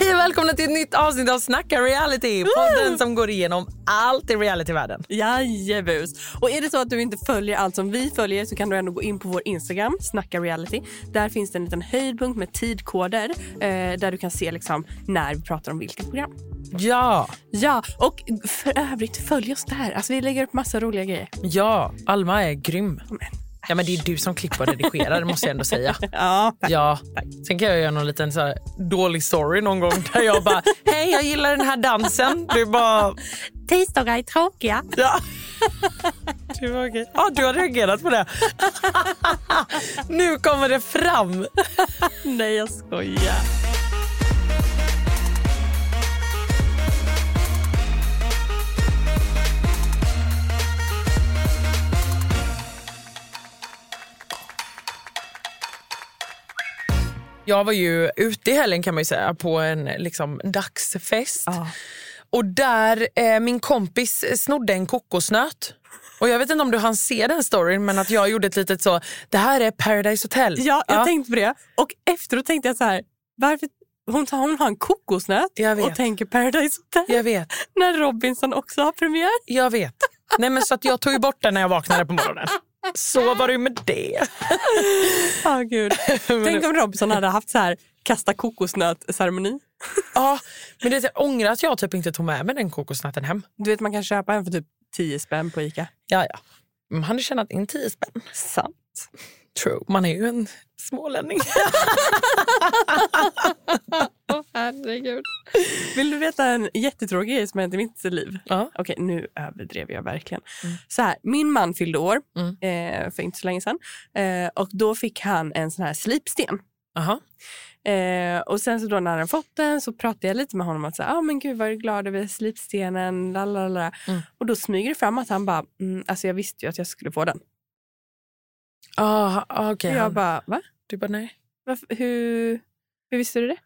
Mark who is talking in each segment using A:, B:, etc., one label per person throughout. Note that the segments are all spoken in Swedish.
A: Hej och välkomna till ett nytt avsnitt av Snacka reality. Podden som går igenom allt i realityvärlden.
B: Jajebus. Och är det så att du inte följer allt som vi följer så kan du ändå gå in på vår Instagram, Snacka Reality. Där finns det en liten höjdpunkt med tidkoder eh, där du kan se liksom när vi pratar om vilket program.
A: Ja,
B: Ja, och för övrigt följ oss där. Alltså, vi lägger upp massa roliga grejer.
A: ja, Alma är grym. Ja, men det är du som klipper och redigerar, det måste jag ändå säga. Ja, ja. Sen kan jag göra någon liten så här dålig story någon gång där jag bara, hej jag gillar den här dansen. Du bara,
B: Tisdagar är tråkiga.
A: ja. Du, var okej. ja, du har reagerat på det. Nu kommer det fram.
B: Nej, jag skojar.
A: Jag var ju ute i helgen kan man ju säga på en liksom, dagsfest. Och där eh, min kompis snodde en kokosnöt. Och jag vet inte om du hann se den storyn men att jag gjorde ett litet så, det här är Paradise Hotel.
B: Ja, jag tänkte på det. Och efteråt tänkte jag så här, varför hon, tar, hon har en kokosnöt
A: Jag vet.
B: och tänker Paradise Hotel
A: jag vet,
B: när Robinson också har premiär.
A: jag vet. Nej men så att jag tog ju bort den när jag vaknade på morgonen. Så var det ju med det.
B: Ah, gud. Tänk om Robinson hade haft så här kasta kokosnöt-ceremoni.
A: Ja, men det är jag ångrar att jag typ inte tog med mig den kokosnöten hem.
B: Du vet, man kan köpa en för typ 10 spänn på Ica.
A: Ja, ja. Man hade tjänat in 10 spänn.
B: Sant.
A: True. Man är ju en smålänning.
B: Vill du veta en jättetråkig grej som hänt i mitt liv?
A: Ja.
B: Okej, nu överdrev jag verkligen. Så här, min man fyllde år
A: Mm.
B: eh, för inte så länge sedan. Eh, och då fick han en sån här slipsten.
A: Aha.
B: Eh, och sen så då när han fått den så pratade jag lite med honom att säga, ah, men gud vad är du glad över slipstenen, lalalala.
A: Mm.
B: Och då smyger det fram att han bara, mm, alltså jag visste ju att jag skulle få den.
A: Ah, okej.
B: Och
A: han-
B: jag bara, va?
A: Du bara nej.
B: Varför, hur, hur visste du det?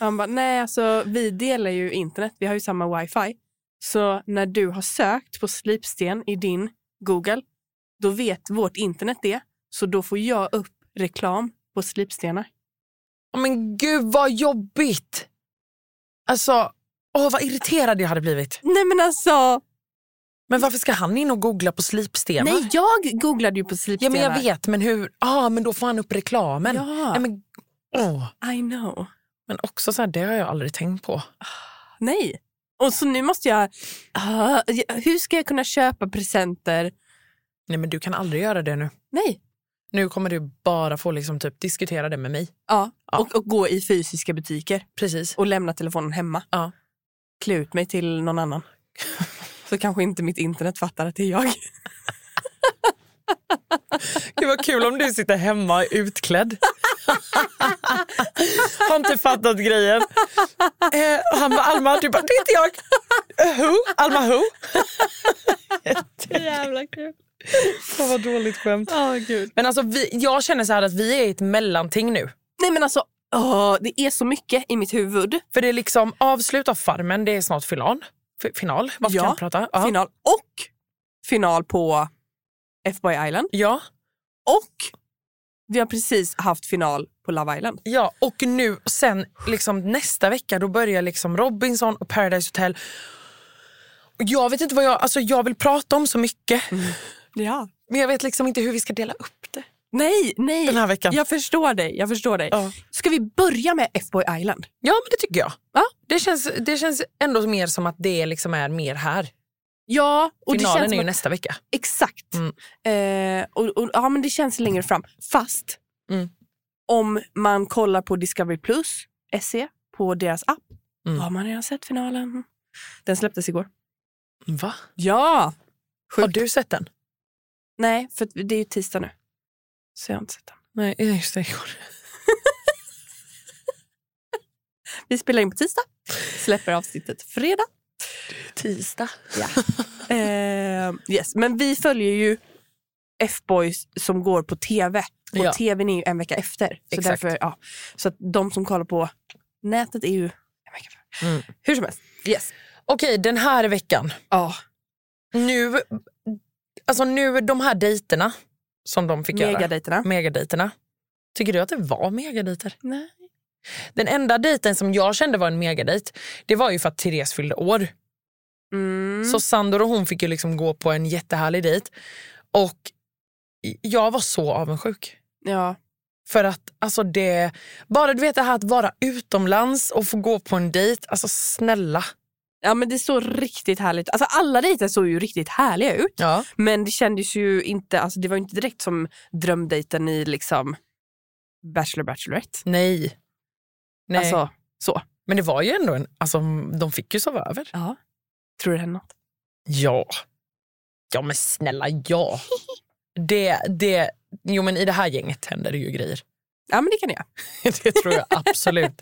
B: Han bara, nej alltså vi delar ju internet, vi har ju samma wifi. Så när du har sökt på slipsten i din Google, då vet vårt internet det. Så då får jag upp reklam på slipstenar.
A: Åh, men gud vad jobbigt! Alltså, åh, vad irriterad jag hade blivit.
B: Nej men alltså,
A: Men varför ska han in och googla på slipstenar?
B: nej jag googlade ju på
A: ja,
B: slipstenar.
A: men jag vet, men hur? Ja, men då får han upp reklamen.
B: Ja.
A: Nej, men, åh.
B: I know.
A: men också så här, det har jag aldrig tänkt på.
B: Nej. Och så nu måste jag, Ah, hur ska jag kunna köpa presenter?
A: Nej, men du kan aldrig göra det nu.
B: Nej.
A: Nu kommer du bara få liksom, typ, diskutera det med mig.
B: Ja, Och, och gå i fysiska butiker.
A: Precis.
B: och lämna telefonen hemma.
A: Ja.
B: Klä ut mig till någon annan. Så kanske inte mitt internet fattar att det är jag.
A: Gud vad kul om du sitter hemma utklädd. Har inte fattat grejen. Eh, och han bara, Alma, du bara, det är inte jag. Eh, Who? Alma who?
B: Jävla kul.
A: Fan vad dåligt skämt.
B: Åh gud.
A: Men alltså, vi, jag känner så här att vi är i ett mellanting nu.
B: Nej men alltså, åh, det är så mycket i mitt huvud.
A: För det är liksom avslut av Farmen, det är snart final. F- final, varför
B: Ja,
A: kan jag prata? Ja.
B: Final och final på F-Boy Island.
A: ja.
B: Och vi har precis haft final på Love Island.
A: Ja, och nu sen liksom nästa vecka då börjar liksom Robinson och Paradise Hotel. Och Jag vet inte vad jag, alltså jag vill prata om så mycket.
B: Ja.
A: Men jag vet liksom inte hur vi ska dela upp det.
B: Nej, nej.
A: Den här veckan.
B: Jag förstår dig. Jag förstår dig.
A: Ja.
B: Ska vi börja med F-Boy Island?
A: Ja, men det tycker jag.
B: Ja.
A: Det, känns, det känns ändå mer som att det liksom är mer här.
B: Ja, och det
A: Finalen
B: känns
A: är
B: som
A: ju
B: att
A: nästa vecka.
B: Exakt.
A: Mm.
B: Eh, och, och, ja, men det känns längre fram. Fast
A: Mm.
B: om man kollar på Discovery Plus, SE, på deras app,
A: Mm.
B: då har man redan sett finalen. Den släpptes igår.
A: Va?
B: Ja!
A: Har du sett den?
B: Nej, för att det är ju tisdag nu. Så jag har inte sett den.
A: Nej, just det. igår.
B: Vi spelar in på tisdag, släpper avsnittet fredag.
A: Tisdag.
B: Eh, Ehm, yes. Men vi följer ju F-boys som går på tv. Och
A: Ja.
B: tvn är ju en vecka efter. Så,
A: Exakt.
B: därför, ja. så att de som kollar på nätet är ju en vecka efter.
A: Mm.
B: Hur som helst. Yes.
A: Okej, den här veckan.
B: Ja,
A: Nu, alltså nu de här dejterna som de fick göra.
B: megadejterna.
A: Megadejterna. Tycker du att det var megadejter?
B: Nej.
A: Den enda dejten som jag kände var en megadejt, det var ju för att Therese fyllde år.
B: Mm.
A: Så Sandor och hon fick ju liksom gå på en jättehärlig dejt. Och jag var så avundsjuk.
B: Ja.
A: För att alltså det, bara du vet det här att vara utomlands och få gå på en dejt, alltså snälla.
B: ja, men det såg riktigt härligt Alltså alla dejter såg ju riktigt härliga ut.
A: Ja.
B: Men det kändes ju inte, alltså det var ju inte direkt som drömdejten i liksom Bachelor Bachelorette.
A: Nej. Nej.
B: Alltså så.
A: Men det var ju ändå en, alltså de fick ju sova över.
B: Ja. Tror du det hände något?
A: Ja. Ja men snälla ja. Det, det, jo men i det här gänget händer det ju grejer.
B: Ja men det kan det göra.
A: Det tror jag absolut.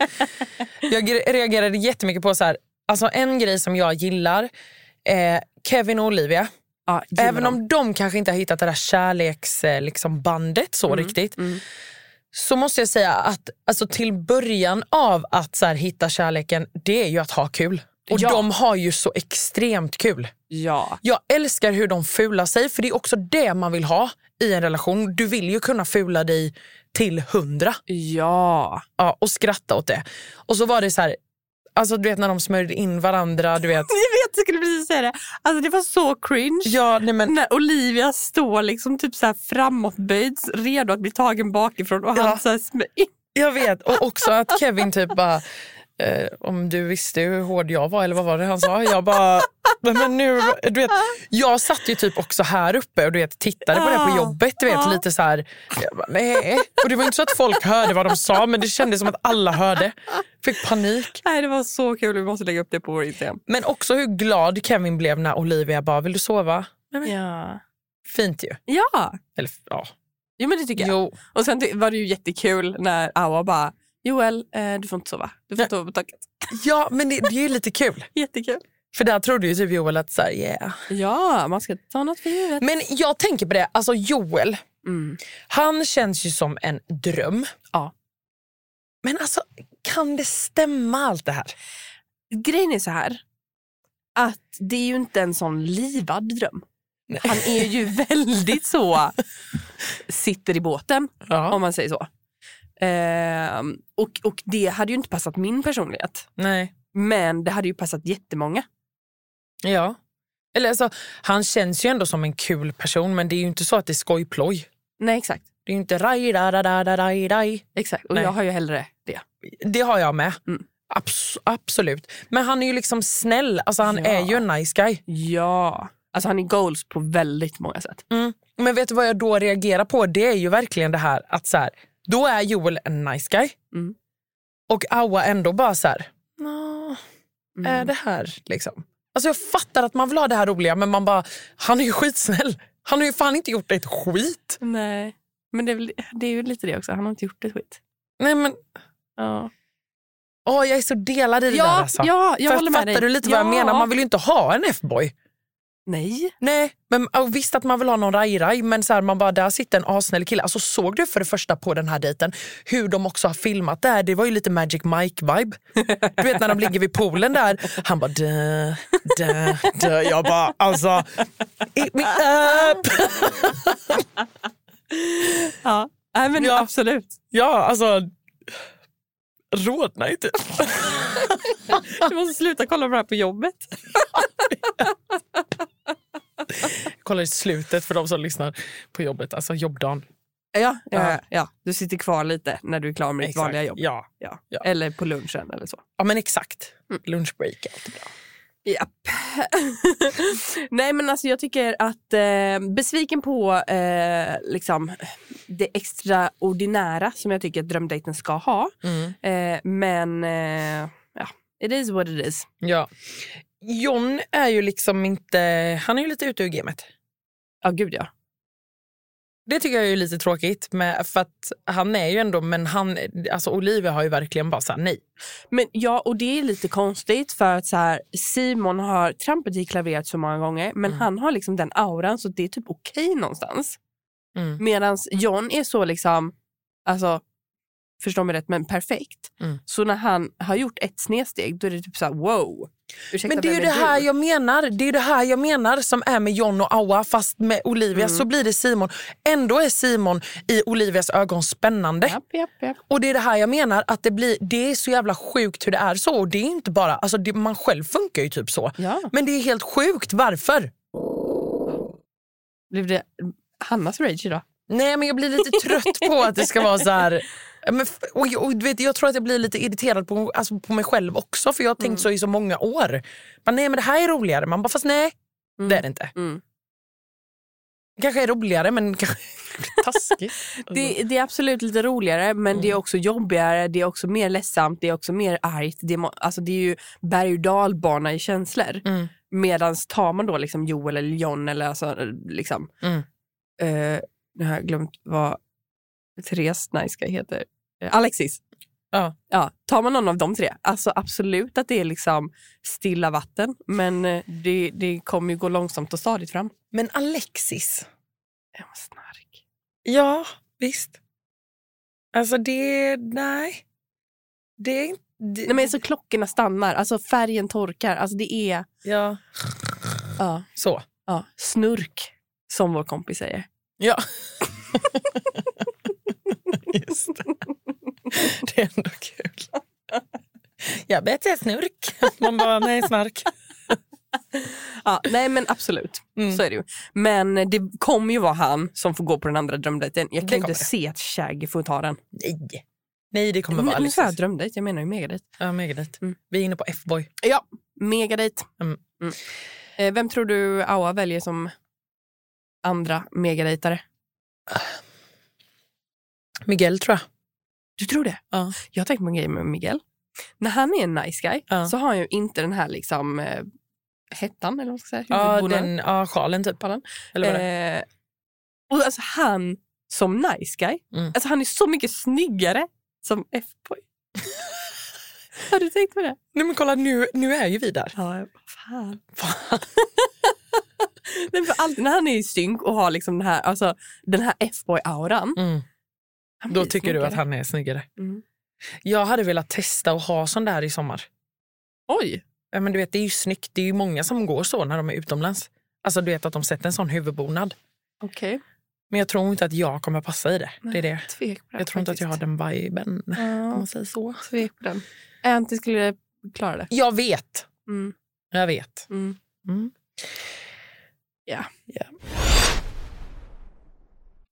A: Jag gre- reagerade jättemycket på så här, alltså en grej som jag gillar, eh, Kevin och Olivia.
B: Ja, gillar
A: Även
B: dem.
A: om de kanske inte har hittat det där kärleksbandet liksom, bandet så riktigt.
B: mm.
A: Så måste jag säga att alltså, till början av att så här, hitta kärleken, det är ju att ha kul. Och
B: Ja.
A: de har ju så extremt kul.
B: Ja.
A: Jag älskar hur de fular sig, för det är också det man vill ha i en relation. Du vill ju kunna fula dig till hundra
B: Ja.
A: ja, och skratta åt det. Och så var det så här, alltså, du vet när de smörjde in varandra. Du vet.
B: Jag vet, jag skulle precis säga det. Alltså det var så cringe.
A: Ja, nej, men,
B: När Olivia står liksom typ så här framåtböjd, redo att bli tagen bakifrån och
A: Ja.
B: han så här smä-
A: Jag vet. Och också att Kevin typ bara... Eh, om du visste hur hård jag var, eller vad var det han sa? Jag bara... "Nej, Men nu, du vet, jag satt ju typ också här uppe och du vet, tittade på det på
B: Ja.
A: jobbet. Du vet,
B: Ja.
A: lite så här, jag bara, nej. Och Det var inte så att folk hörde vad de sa, men det kändes som att alla hörde. Fick panik.
B: Nej, det var så kul. Vi måste lägga upp det på vår Instagram.
A: Men också hur glad Kevin blev när Olivia bara, vill du sova?
B: Ja.
A: Fint ju.
B: Ja.
A: Eller, ja.
B: Jo, men det tycker jag.
A: Jo.
B: Och sen ty- var det ju jättekul när Awa bara Joel, eh, du får inte sova. Du får inte sova på taket.
A: ja, men det, det är ju lite kul.
B: Jättekul.
A: För där trodde ju typ Joel att så här, yeah.
B: Ja, man ska ta något för givet.
A: Men jag tänker på det, alltså Joel,
B: Mm.
A: han känns ju som en dröm.
B: Ja.
A: Men alltså, kan det stämma allt det här?
B: Grejen är så här att det är ju inte en sån livad dröm. Han är ju väldigt så sitter i båten,
A: Ja.
B: om man säger så. Ehm, och, och det hade ju inte passat min personlighet.
A: Nej.
B: Men det hade ju passat jättemånga.
A: Ja. Eller alltså, han känns ju ändå som en kul person, men det är ju inte så att det är skojploj.
B: Nej, exakt.
A: Det är ju inte raj, da, da, da, da, raj, raj.
B: exakt. Och
A: Nej.
B: jag har ju hellre det.
A: Det har jag med.
B: Mm.
A: Abs- absolut. Men han är ju liksom snäll. Alltså, han
B: Ja.
A: är ju en nice guy.
B: Ja. Alltså han är goals på väldigt många sätt.
A: Mm. Men vet du vad jag då reagerar på? Det är ju verkligen det här att så här, då är Joel en nice guy.
B: Mm.
A: Och Awa ändå bara så här, "Nå,
B: Mm.
A: är det här liksom? Alltså jag fattar att man vill ha det här roliga men man bara, han är ju skitsnäll. Han har ju fan inte gjort ett skit.
B: Nej. Men det är, väl, det är ju lite det också. Han har inte gjort ett skit.
A: Nej men,
B: Ja,
A: åh jag är så delad i det där alltså.
B: ja jag
A: För
B: håller med
A: fattar
B: dig.
A: du lite vad jag
B: Ja.
A: menar? Man vill ju inte ha en F-boy.
B: Nej.
A: Nej, men och visst att man vill ha någon raj-raj men så här, man bara, där sitter en assnäll kille. Alltså såg du för det första på den här dejten hur de också har filmat det här? Det var ju lite Magic Mike-vibe. Du vet när de ligger vid poolen där. Han bara dö, dö, dö. Jag bara alltså, eat me up.
B: Ja. Nej, men
A: Ja.
B: absolut.
A: Ja, alltså rodna inte.
B: Du måste sluta kolla på det här på jobbet.
A: Kolla i slutet för de som lyssnar på jobbet, alltså jobbdagen.
B: Ja,
A: Ja.
B: ja, ja. Du sitter kvar lite när du är klar med ditt
A: Exakt.
B: vanliga jobb.
A: Ja.
B: Ja.
A: Ja.
B: Eller på lunchen eller så.
A: ja, men exakt.
B: Mm.
A: Lunchbreak är alltid bra.
B: Japp. Nej men alltså jag tycker att eh, besviken på eh, liksom, det extraordinära som jag tycker att drömdejten ska ha.
A: Mm.
B: Eh, men eh, ja, it is what it is.
A: Ja. John är ju liksom inte... Han är ju lite ute ur gamet.
B: Ja gud ja.
A: Det tycker jag är lite tråkigt, med, för att han är ju ändå... Men han, alltså Olivia har ju verkligen bara sagt nej.
B: Men ja, och det är lite konstigt för att så här, Simon har trampet i klaveret så många gånger men han har liksom den auran så det är typ okej någonstans.
A: Mm.
B: Medan John är så liksom, alltså förstå mig rätt men perfekt.
A: Mm.
B: Så när han har gjort ett snedsteg då är det typ så här wow. Ursäkta,
A: Men det är ju
B: vem
A: det här
B: du?
A: jag menar Det är ju det här jag menar som är med John och Awa fast med Olivia
B: Mm.
A: så blir det Simon. Ändå är Simon i Olivias ögon spännande.
B: Japp, japp, japp.
A: Och det är det här jag menar att det blir det är så jävla sjukt hur det är så. Och det är inte bara alltså det, man själv funkar ju typ så.
B: Ja.
A: Men det är helt sjukt varför?
B: Blev det Hannas rage idag?
A: Nej men jag blir lite trött på att det ska vara så här. Men, f- och, jag- och, du vet, jag tror att jag blir lite irriterad på, alltså, på mig själv också för jag har tänkt
B: Mm.
A: så i så många år. Men, nej men det här är roligare. Man bara fast nej det är det inte.
B: Mm.
A: kanske är roligare men kanske taskigt.
B: Det, det är absolut lite roligare, men det är
A: Mm.
B: också jobbigare, det är också mer ledsamt, det är också mer argt. Det är, må- alltså det är ju berg och dalbana i känslor.
A: Mm.
B: Medan tar man då liksom Joel eller John eller alltså liksom...
A: Mm.
B: eh, nu har jag glömt vad Therese Najska heter. Eh, Alexis.
A: Ja.
B: ja. Tar man någon av de tre, alltså absolut att det är liksom stilla vatten. Men eh, det, det kommer ju gå långsamt och stadigt fram.
A: Men Alexis.
B: Jag var snark.
A: Ja, visst. Alltså det... Nej. Det är inte... det-
B: Nej, men så klockorna stannar, alltså färgen torkar. Alltså det är
A: Ja.
B: ja,
A: Så.
B: ja, snurk, som vår kompis säger.
A: Ja. Just det. Det är ändå kul. Jag bet jag snurk. Man bara, nej snark.
B: Ja, nej, men absolut.
A: Mm.
B: Så är det ju. Men det kommer ju vara han som får gå på den andra drömdejten. Jag
A: Det
B: kan ju inte
A: kommer.
B: se att Shaggy får ta den.
A: Nej. Nej, det kommer vara
B: Nu nu sa jag
A: Alexis.
B: drömdejt, jag menar ju megadejt.
A: Ja, megadejt.
B: Mm.
A: Vi är inne på F-boy.
B: Ja, megadejt.
A: Mm.
B: Mm. Eh, Vem tror du Aua väljer som andra megadejtare?
A: Miguel tror jag.
B: Du tror det?
A: Ja.
B: Jag har tänkt på en grej med Miguel. När han är en nice guy
A: Ja.
B: så har han ju inte den här liksom eh, hettan eller vad man ska säga,
A: Ja,
B: huvudbonaden.
A: den, ja sjalen typ.
B: Pallen.
A: Eller vad det är.
B: Eh, och alltså han som nice guy,
A: Mm.
B: alltså han är så mycket snyggare som F-boy. har du tänkt på det?
A: Nej men kolla, nu, nu är ju vi där.
B: Ja, fan. Nej, för alltid när han är i synk och har liksom den här, alltså, den här F-boy-auran. han
A: Mm. Då
B: blir
A: tycker du
B: snyggare.
A: att han är snyggare.
B: Mm.
A: Jag hade velat testa att ha sån där i sommar.
B: Oj!
A: Ja, men du vet, det är ju snyggt. Det är ju många som går så när de är utomlands. Alltså du vet att de sätter en sån huvudbonad.
B: Okej.
A: Men jag tror inte att jag kommer passa i det. det, är det.
B: Tvek på den
A: Jag tror inte att jag har
B: faktiskt.
A: den viben. Om
B: Ja,
A: man säger så.
B: tvek på den. Anty skulle klara det.
A: Jag vet.
B: Mm.
A: Jag vet.
B: Mm.
A: Mm.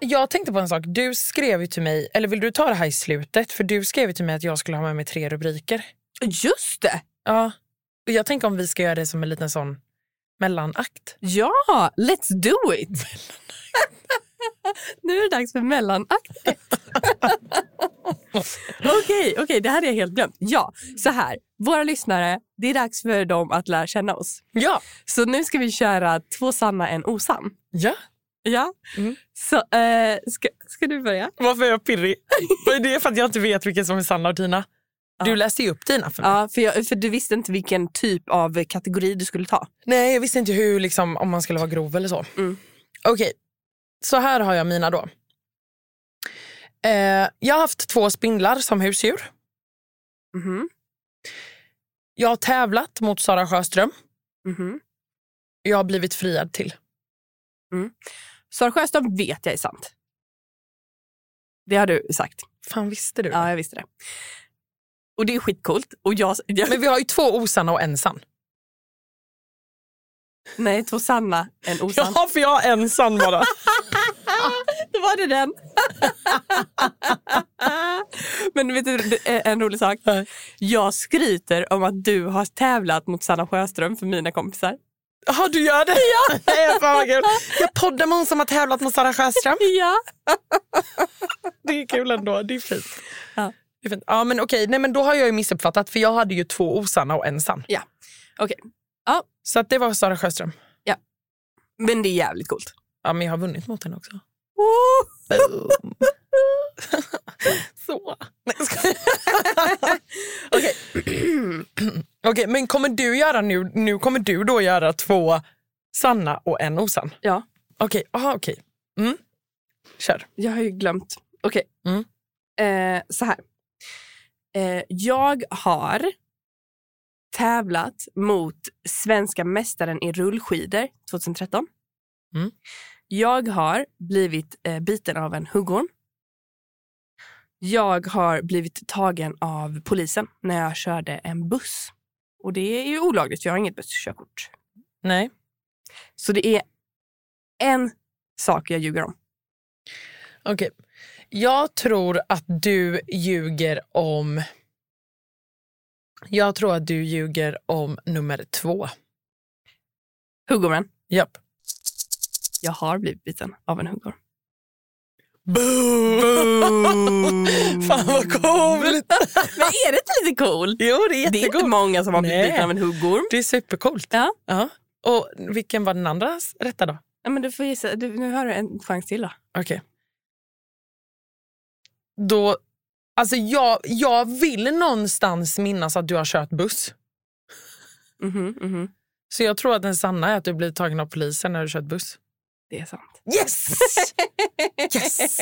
A: Jag tänkte på en sak. Du skrev ju till mig, eller vill du ta det här i slutet? För du skrev ju till mig att jag skulle ha med mig tre rubriker.
B: Just det!
A: Ja. Och jag tänker om vi ska göra det som en liten sån mellanakt.
B: Ja, let's do it! nu är det dags för mellanaktet. Okej, okej, det här är jag helt glömt. Ja, så här. Våra lyssnare, det är dags för dem att lära känna oss.
A: Ja.
B: Så nu ska vi köra två sanna, en osann.
A: Ja.
B: Ja?
A: Mm.
B: Så, eh, ska, ska du börja?
A: Varför är jag pirrig? Det är för att jag inte vet vilken som är Sanna och Tina. Du
B: Ja.
A: läste ju upp Tina för mig.
B: Ja, för, jag, för du visste inte vilken typ av kategori du skulle ta.
A: Nej, jag visste inte hur, liksom, om man skulle vara grov eller så.
B: Mm.
A: Okej, så här har jag mina då. Eh, jag har haft två spindlar som husdjur.
B: Mhm.
A: Jag har tävlat mot Sara Sjöström.
B: Mhm.
A: Jag har blivit friad till.
B: Sara Sjöström vet jag är sant. Det har du sagt.
A: Fan visste du?
B: Ja, jag visste det. Och det är skitcoolt. Och jag, jag,
A: Men vi har ju två osanna och en sann.
B: nej, två sanna, en osann.
A: Ja, för jag har en sann bara.
B: Då var det den. Men vet du, det är en rolig sak. Jag skryter om att du har tävlat mot Sanna Sjöström för mina kompisar.
A: Jaha, du gör det? Ja. Nej, fan vad kul. Jag poddar med hon som har tävlat mot Sara Sjöström.
B: Ja.
A: Det är kul ändå. Det är fint.
B: Ja.
A: Det är fint. Ja, men okej. Nej, men då har jag ju missuppfattat, för jag hade ju två osanna och en sann.
B: Ja. Okej.
A: Ja. Så att det var Sara Sjöström.
B: Men det är jävligt coolt.
A: Ja, men jag har vunnit mot henne också.
B: Oh!
A: Boom. Så. Nej, jag skojar. Okej. Okej, men kommer du göra nu, nu kommer du då göra två sanna och en osann?
B: Ja.
A: Okej, aha, okej. Mm. Kör.
B: Jag har ju glömt. Okej.
A: Mm.
B: Eh, så här. Eh, jag har tävlat mot svenska mästaren i rullskidor 2013.
A: Mm.
B: Jag har blivit eh, biten av en huggorm. Jag har blivit tagen av polisen när jag körde en buss. Och det är ju olagligt, för jag har inget busskörkort.
A: Nej.
B: Så det är en sak jag ljuger om.
A: Okej. Jag tror att du ljuger om... Jag tror att du ljuger om nummer två.
B: Huggormen.
A: Japp.
B: Jag har blivit biten av en huggorm.
A: Boom! Fan vad coolt!
B: Men är det inte lite coolt?
A: Jo, det är
B: Det är inte
A: jättegott.
B: många som har blivit
A: Nej.
B: biten av en huggorm.
A: Det är supercoolt.
B: Ja.
A: Ja. Och vilken var den andra s- rätta då?
B: Ja, men du får gissa. Du, nu har du en chans till då.
A: Okej. Då, alltså jag, jag vill någonstans minnas att du har kört buss.
B: Mhm, mhm.
A: Så jag tror att den sanna är att du blivit tagen av polisen när du kört buss.
B: Det är sant.
A: Yes! yes!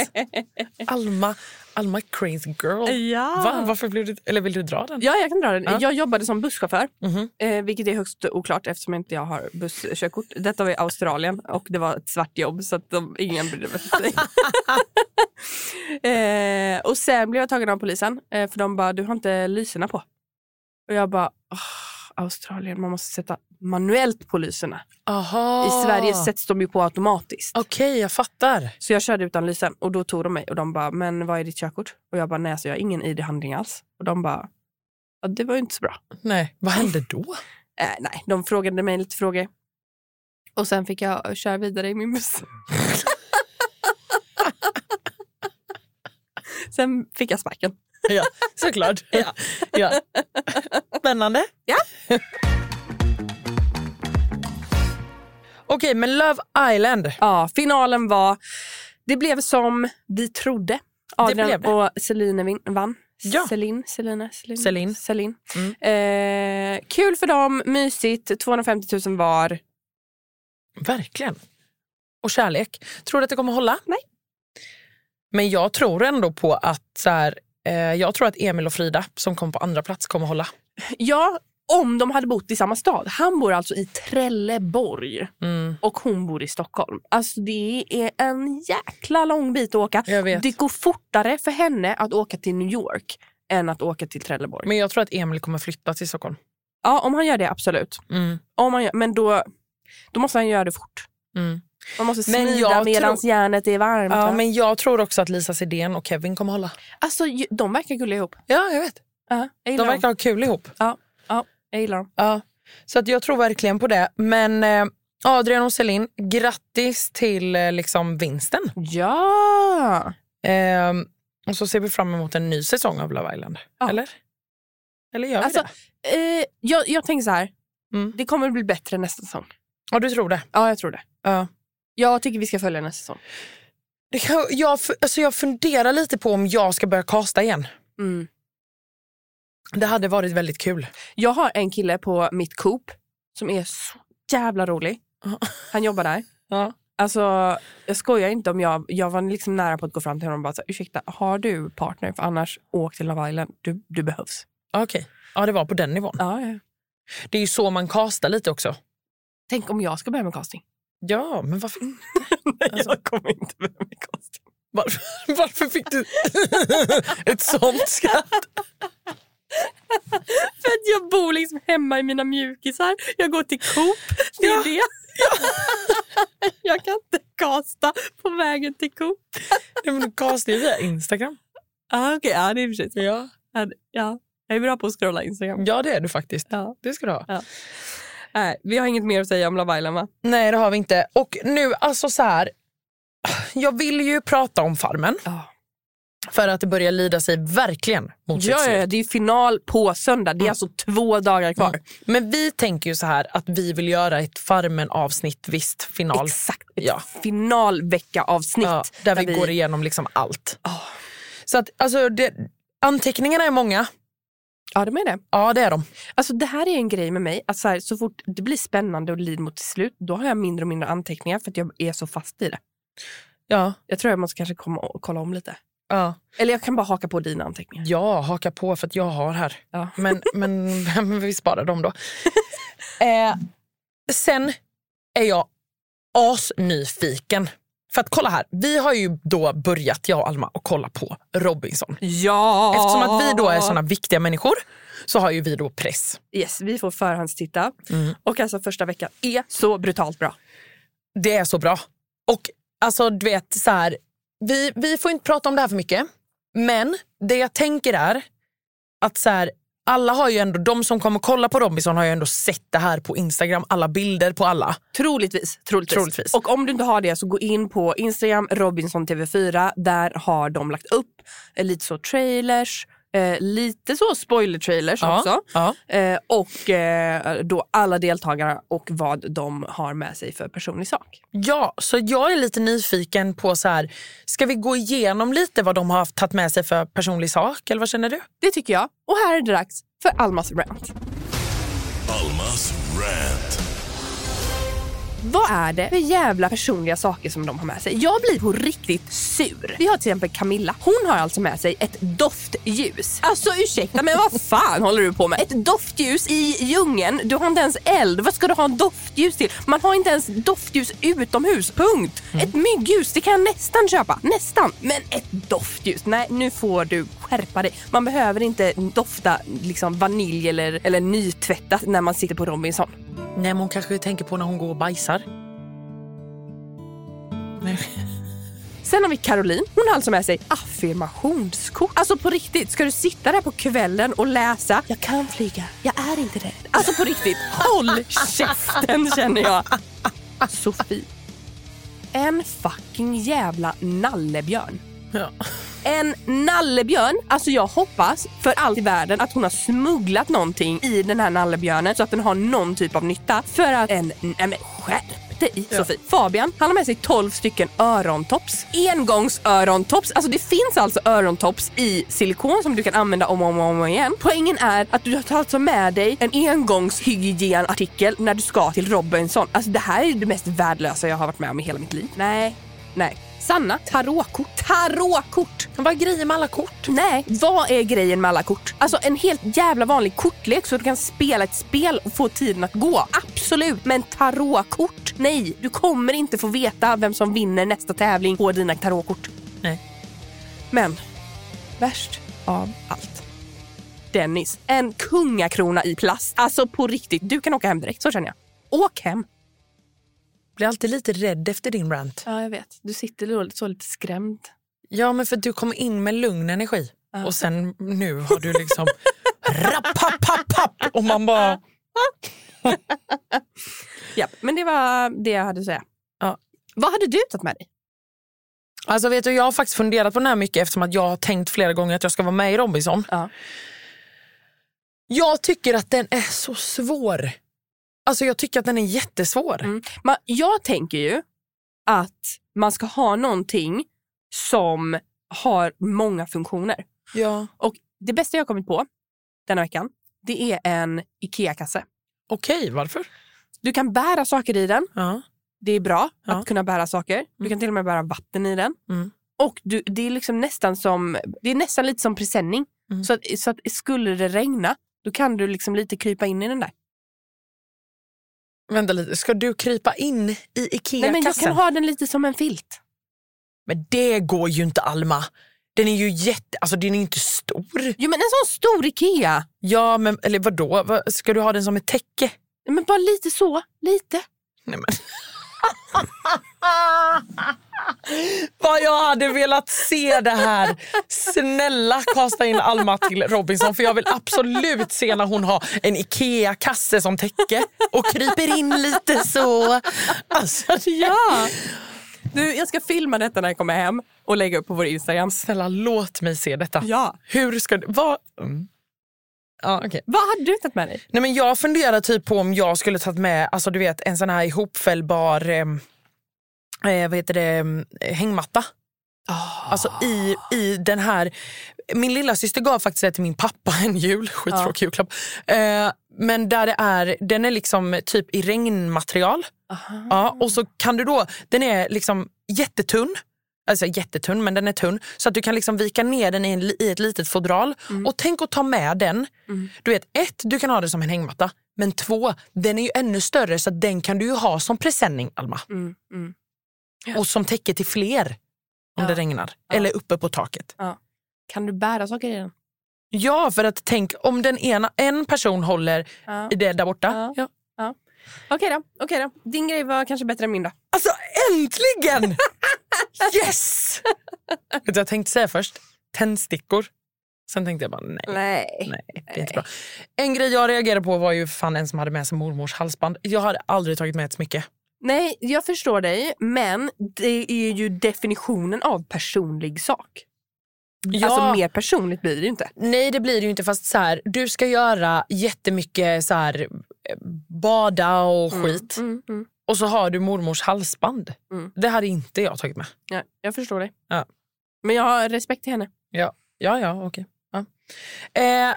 A: Alma, Alma crazy girl.
B: Ja.
A: Va? Varför blev du, eller vill du dra den?
B: Ja, jag kan dra den.
A: Ja.
B: Jag jobbade som busschaufför,
A: Mhm.
B: eh, vilket är högst oklart eftersom inte jag har busskörkort. Detta var i Australien och det var ett svart jobb så att de, ingen brydde sig. eh, och sen blev jag tagen av polisen eh, för de bara, du har inte lyserna på. Och jag bara, "Åh, Australien, man måste sätta manuellt på lyserna.
A: Aha.
B: I Sverige sätts de ju på automatiskt.
A: Okej, jag fattar.
B: Så jag körde utan lysen och då tog de mig och de bara, men vad är ditt körkort? Och jag bara, nej så jag har ingen id-handling alls. Och de bara, ja, det var ju inte så bra.
A: Nej, vad hände då?
B: Eh, nej, de frågade mig lite frågor. Och sen fick jag köra vidare i min buss. sen fick jag sparken.
A: Ja, såklart. Ja. Ja. Spännande.
B: Ja.
A: Okej, men Love Island.
B: Ja, finalen var, det blev som vi trodde. Adrian
A: blev det.
B: och Celine vin- vann.
A: Ja.
B: Celine, Celine, Celine. Mm.
A: Celine.
B: Celine. Eh, kul för dem, mysigt, 250 000 var.
A: Verkligen. Och kärlek. Tror du att det kommer hålla?
B: Nej.
A: Men jag tror ändå på att så här, eh, jag tror att Emil och Frida som kom på andra plats kommer hålla.
B: Ja, om de hade bott i samma stad. Han bor alltså i Trelleborg
A: Mm.
B: och hon bor i Stockholm. Alltså det är en jäkla lång bit att åka.
A: Jag vet.
B: Det går fortare för henne att åka till New York än att åka till Trelleborg.
A: Men jag tror att Emil kommer flytta till Stockholm.
B: ja, om han gör det, absolut.
A: Mm.
B: Om han gör, men då, då måste han göra det fort.
A: Mm.
B: Man måste
A: Men
B: smida
A: jag
B: medan
A: tror-
B: järnet är varmt.
A: Ja,
B: va?
A: men jag tror också att Lisa Sidén och Kevin kommer hålla.
B: Alltså, ju- de verkar gulliga ihop.
A: Ja, jag vet.
B: Ja, jag,
A: De
B: gillar
A: verkar
B: dem.
A: ha kul ihop.
B: jag gillar dem.
A: Ja, så att jag tror verkligen på det. Men eh, Adrian och Celine, grattis till eh, liksom vinsten.
B: Ja!
A: Ehm, och så ser vi fram emot en ny säsong av Love Island.
B: Ja.
A: Eller? Eller gör vi
B: Alltså-
A: det?
B: Eh, jag, jag tänker så här.
A: Mm.
B: Det kommer bli bättre nästa säsong.
A: Ja, du tror det?
B: Ja, jag tror det.
A: Ja.
B: Jag tycker vi ska följa nästa säsong.
A: det kan, jag, fu- alltså jag funderar lite på om jag ska börja kasta igen.
B: Mm.
A: Det hade varit väldigt kul.
B: Jag har en kille på mitt Coop som är så jävla rolig.
A: Ja.
B: Han jobbar där.
A: Ja.
B: Alltså, jag skojar inte om jag... Jag var liksom nära på att gå fram till honom och bara så här, ursäkta, har du partner? För annars, åk till Love Island. Du, du behövs.
A: Ja, Ah, Okej. Ja, det var på den nivån.
B: Ja, ja.
A: Det är ju så man kastar lite också.
B: Tänk om jag ska börja med casting.
A: Ja, men varför, Alltså.
B: Nej, jag kommer inte börja med casting.
A: varför, varför fick du ett sånt skratt?
B: För att jag bor liksom hemma i mina mjukisar. Jag går till Coop. Det är
A: Ja.
B: det. jag kan inte casta på vägen till Coop.
A: Nej, men du castar ju via Instagram.
B: Ah, Okej, ja, det är i och för sig sant.
A: Ja.
B: Ja, det- ja. Jag är bra på att scrolla Instagram.
A: ja, det är du faktiskt.
B: Ja.
A: Det ska du ha.
B: Nej, vi har inget mer att säga om Love Island, va?
A: Nej, det har vi inte. Och nu, alltså så här. Jag vill ju prata om Farmen.
B: Ja.
A: För att det börjar lida sig verkligen mot sitt
B: Ja,
A: slut.
B: ja, ja, det är final på söndag. Det är alltså två dagar kvar.
A: Mm. Men vi tänker ju så här att vi vill göra ett Farmen-avsnitt, visst final.
B: Exakt. Ett
A: Ja.
B: finalvecka-avsnitt.
A: Ja, där, vi, går igenom liksom allt. Så att, alltså, det, anteckningarna är många.
B: Ja, de är det.
A: Ja, det är de.
B: Alltså, det här är en grej med mig. Att så, här, så fort det blir spännande och lider mot till slut, då har jag mindre och mindre anteckningar för att jag är så fast i det.
A: Ja,
B: Jag tror jag måste kanske komma och kolla om lite.
A: ja.
B: Eller jag kan bara haka på dina anteckningar.
A: ja haka på för att jag har här.
B: Ja.
A: Men, men, men vi sparar dem då. eh, sen är jag asnyfiken. För att kolla här, vi har ju då börjat, jag och Alma, att kolla på Robinson.
B: Ja!
A: Eftersom att vi då är såna viktiga människor så har ju vi då press.
B: Yes, vi får förhandstitta. Och alltså första veckan är så brutalt bra.
A: Det är så bra. Och alltså du vet så här, vi, vi får inte prata om det här för mycket. Men det jag tänker är att så här, alla har ju ändå, de som kommer kolla på Robinson har ju ändå sett det här på Instagram, alla bilder på alla.
B: Troligtvis, troligtvis.
A: Troligtvis.
B: Och om du inte har det så gå in på Instagram, Robinson TV4. Där har de lagt upp eh, lite så trailers, eh, lite så spoiler-trailers också.
A: Ja.
B: Eh, och eh, då alla deltagare och vad de har med sig för personlig sak.
A: ja, så jag är lite nyfiken på så här, ska vi gå igenom lite vad de har haft- tagit med sig för personlig sak eller vad känner du?
B: Det tycker jag. Och här är det dags för Almas rant.
C: Almas rant.
B: Vad är det för jävla personliga saker som de har med sig? Jag blir på riktigt sur. Vi har till exempel Camilla. Hon har alltså med sig ett doftljus. Alltså ursäkta, men vad fan håller du på med? Ett doftljus i djungeln. Du har inte ens eld. Vad ska du ha en doftljus till? Man har inte ens doftljus utomhus. Punkt. Ett myggljus, det kan jag nästan köpa. Nästan. Men ett doftljus. Nej, nu får du skärpa dig. Man behöver inte dofta liksom, vanilj eller, eller nytvättat när man sitter på Robinson.
A: Nej men hon kanske tänker på när hon går och bajsar. Nej.
B: Sen har vi Caroline. Hon har alltså med sig affirmationskort. Alltså på riktigt, ska du sitta där på kvällen och läsa? Jag kan flyga, jag är inte rädd. Alltså på riktigt, håll käften känner jag. Sofie. En fucking jävla nallebjörn.
A: Ja.
B: En nallebjörn! Alltså jag hoppas för allt i världen att hon har smugglat någonting i den här nallebjörnen så att den har någon typ av nytta. För att en... Nej men skärp dig Sofie! Fabian, han har med sig 12 stycken örontops. Engångsörontops. Alltså det finns alltså örontops i silikon som du kan använda om och om, och om igen. Poängen är att du tar alltså med dig en engångshygienartikel när du ska till Robinson. Alltså det här är ju det mest värdelösa jag har varit med om i hela mitt liv. Nej, nej. Sanna, tarotkort. Tarotkort!
A: Vad är grejen med alla kort?
B: Nej, vad är grejen med alla kort? Alltså en helt jävla vanlig kortlek så du kan spela ett spel och få tiden att gå. Absolut, men tarotkort? Nej, du kommer inte få veta vem som vinner nästa tävling på dina tarotkort.
A: Nej.
B: Men värst av allt. Dennis, en kungakrona i plast. Alltså på riktigt, du kan åka hem direkt. Så känner jag. Åk hem.
A: Blir alltid lite rädd efter din rant.
B: Ja, jag vet. Du sitter så lite skrämd.
A: Ja, men för att du kommer in med lugn energi. Och sen nu har du liksom rapp, papp, papp, papp, och man bara...
B: Ja, men det var det jag hade att säga.
A: Ja.
B: Vad hade du tagit med dig?
A: Alltså vet du, jag har faktiskt funderat på den här mycket eftersom att jag har tänkt flera gånger att jag ska vara med i Robinson.
B: Ja.
A: Jag tycker att den är så svår. Alltså jag tycker att den är jättesvår.
B: Mm. Man, jag tänker ju att man ska ha någonting som har många funktioner.
A: Ja.
B: Och det bästa jag har kommit på denna veckan, det är en IKEA-kasse.
A: Okej, varför?
B: Du kan bära saker i den.
A: Ja.
B: Det är bra
A: Ja.
B: att kunna bära saker. Du kan till och med bära vatten i den.
A: Mm.
B: Och du, det, är liksom nästan som, det är nästan lite som presenning. Så, att, så att skulle det regna, då kan du liksom lite krypa in i den där.
A: Vänta lite, ska du krypa in i
B: Nej, men jag
A: IKEA-kassen?
B: kan ha den lite som en filt.
A: Men det går ju inte Alma. Den är ju jätte, alltså den är ju inte stor.
B: Jo, men en sån stor IKEA.
A: Ja men eller vadå, Va- ska du ha den som ett täcke?
B: Men bara lite så, lite.
A: Nej, men. Vad jag hade velat se det här. Snälla kasta in Alma till Robinson för jag vill absolut se när hon har en Ikea-kasse som täcke och kryper in lite så. Alltså,
B: Ja! Du, jag ska filma detta när jag kommer hem och lägga upp på vår Instagram.
A: snälla låt mig se detta.
B: Ja.
A: Hur ska du... Vad? Mm. Ja, okej.
B: Vad hade du tagit med dig?
A: Nej, men jag funderar typ på om jag skulle tagit med alltså, du vet, en sån här ihopfällbar eh, eh, vad heter det, em, hängmatta. Alltså i, i den här... Min lilla syster gav faktiskt det till min pappa en jul. Skittråkig julklapp. Eh, men där det är, den är liksom typ i regnmaterial. Ja, och så kan du då, den är liksom jättetunn. Alltså jättetunn, men den är tunn. Så att du kan liksom vika ner den i, en, li- i ett litet fodral.
B: Mm.
A: Och tänk att ta med den. Du vet, ett, du kan ha den som en hängmatta. Men två, den är ju ännu större så att den kan du ju ha som presenning, Alma.
B: Mm,
A: Och som täcke till fler om det regnar. Eller uppe på taket.
B: Kan du bära saker i den?
A: Ja, för att tänk om den ena, en person håller
B: Ja.
A: i det där borta.
B: Ja. Ja. Okej då, okej då. Din grej var kanske bättre än min då.
A: Alltså äntligen! yes! Vet du, jag tänkte säga först tändstickor. Sen tänkte jag bara nej.
B: Nej.
A: Nej, det är inte bra. En grej jag reagerade på var ju för fan en som hade med sig mormors halsband. Jag hade aldrig tagit med ett smycke.
B: Nej, jag förstår dig. Men det är ju definitionen av personlig sak.
A: Ja.
B: Alltså mer personligt blir det ju inte.
A: Nej, det blir det ju inte. Fast så här, du ska göra jättemycket så här, eh, bada och skit.
B: Mm, mm.
A: Och så har du mormors halsband.
B: Mm.
A: Det hade inte jag tagit med.
B: Ja, jag förstår dig.
A: Ja.
B: Men jag har respekt till henne.
A: Ja, ja, okej. Ja. Eh,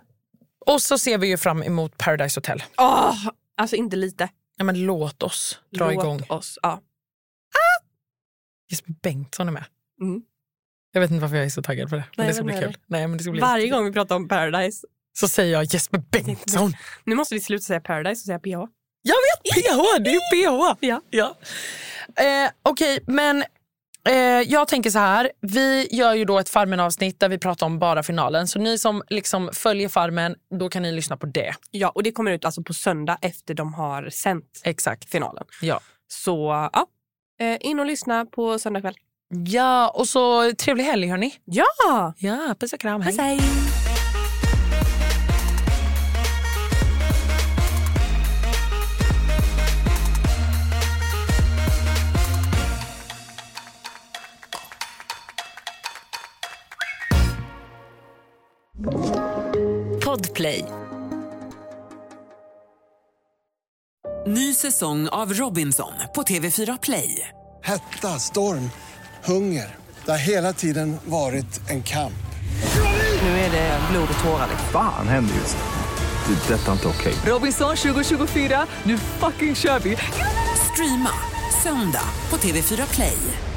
A: och så ser vi ju fram emot Paradise Hotel.
B: Åh, alltså inte lite.
A: Ja, men låt oss dra
B: Låt
A: igång.
B: oss. Ja.
A: Jesper Bengtsson är med.
B: Mm.
A: Jag vet inte varför jag är så taggad på det. Men
B: Nej,
A: det ska
B: vem
A: bli
B: är
A: kul. Nej, men det ska bli
B: Varje
A: jättekul.
B: gång vi pratar om Paradise.
A: Så säger jag Jesper Bengtsson.
B: Nu måste vi sluta säga Paradise och säga PH.
A: Jag vet! PH, det är ju PH!
B: Ja.
A: Ja. Eh, Okej, men eh, jag tänker så här. Vi gör ju då ett Farmen-avsnitt där vi pratar om bara finalen. Så ni som liksom följer Farmen, då kan ni lyssna på det.
B: Ja, och det kommer ut alltså på söndag efter de har sänt
A: Exakt.
B: finalen.
A: Ja.
B: Så ja, Eh, in och lyssna på söndag kväll.
A: Ja, och så trevlig helg hörni.
B: Ja!
A: Ja, puss och kram. Hej.
B: Puss hej!
D: Podplay.
E: Ny säsong av Robinson på TV4 Play.
F: Hetta, storm, hunger. Det har hela tiden varit en kamp.
E: Nu är det blod och tårar. liksom.
G: Fan händer just det. Det är detta inte okej.
E: Robinson 2024, nu fucking kör vi! Streama söndag på TV4 Play.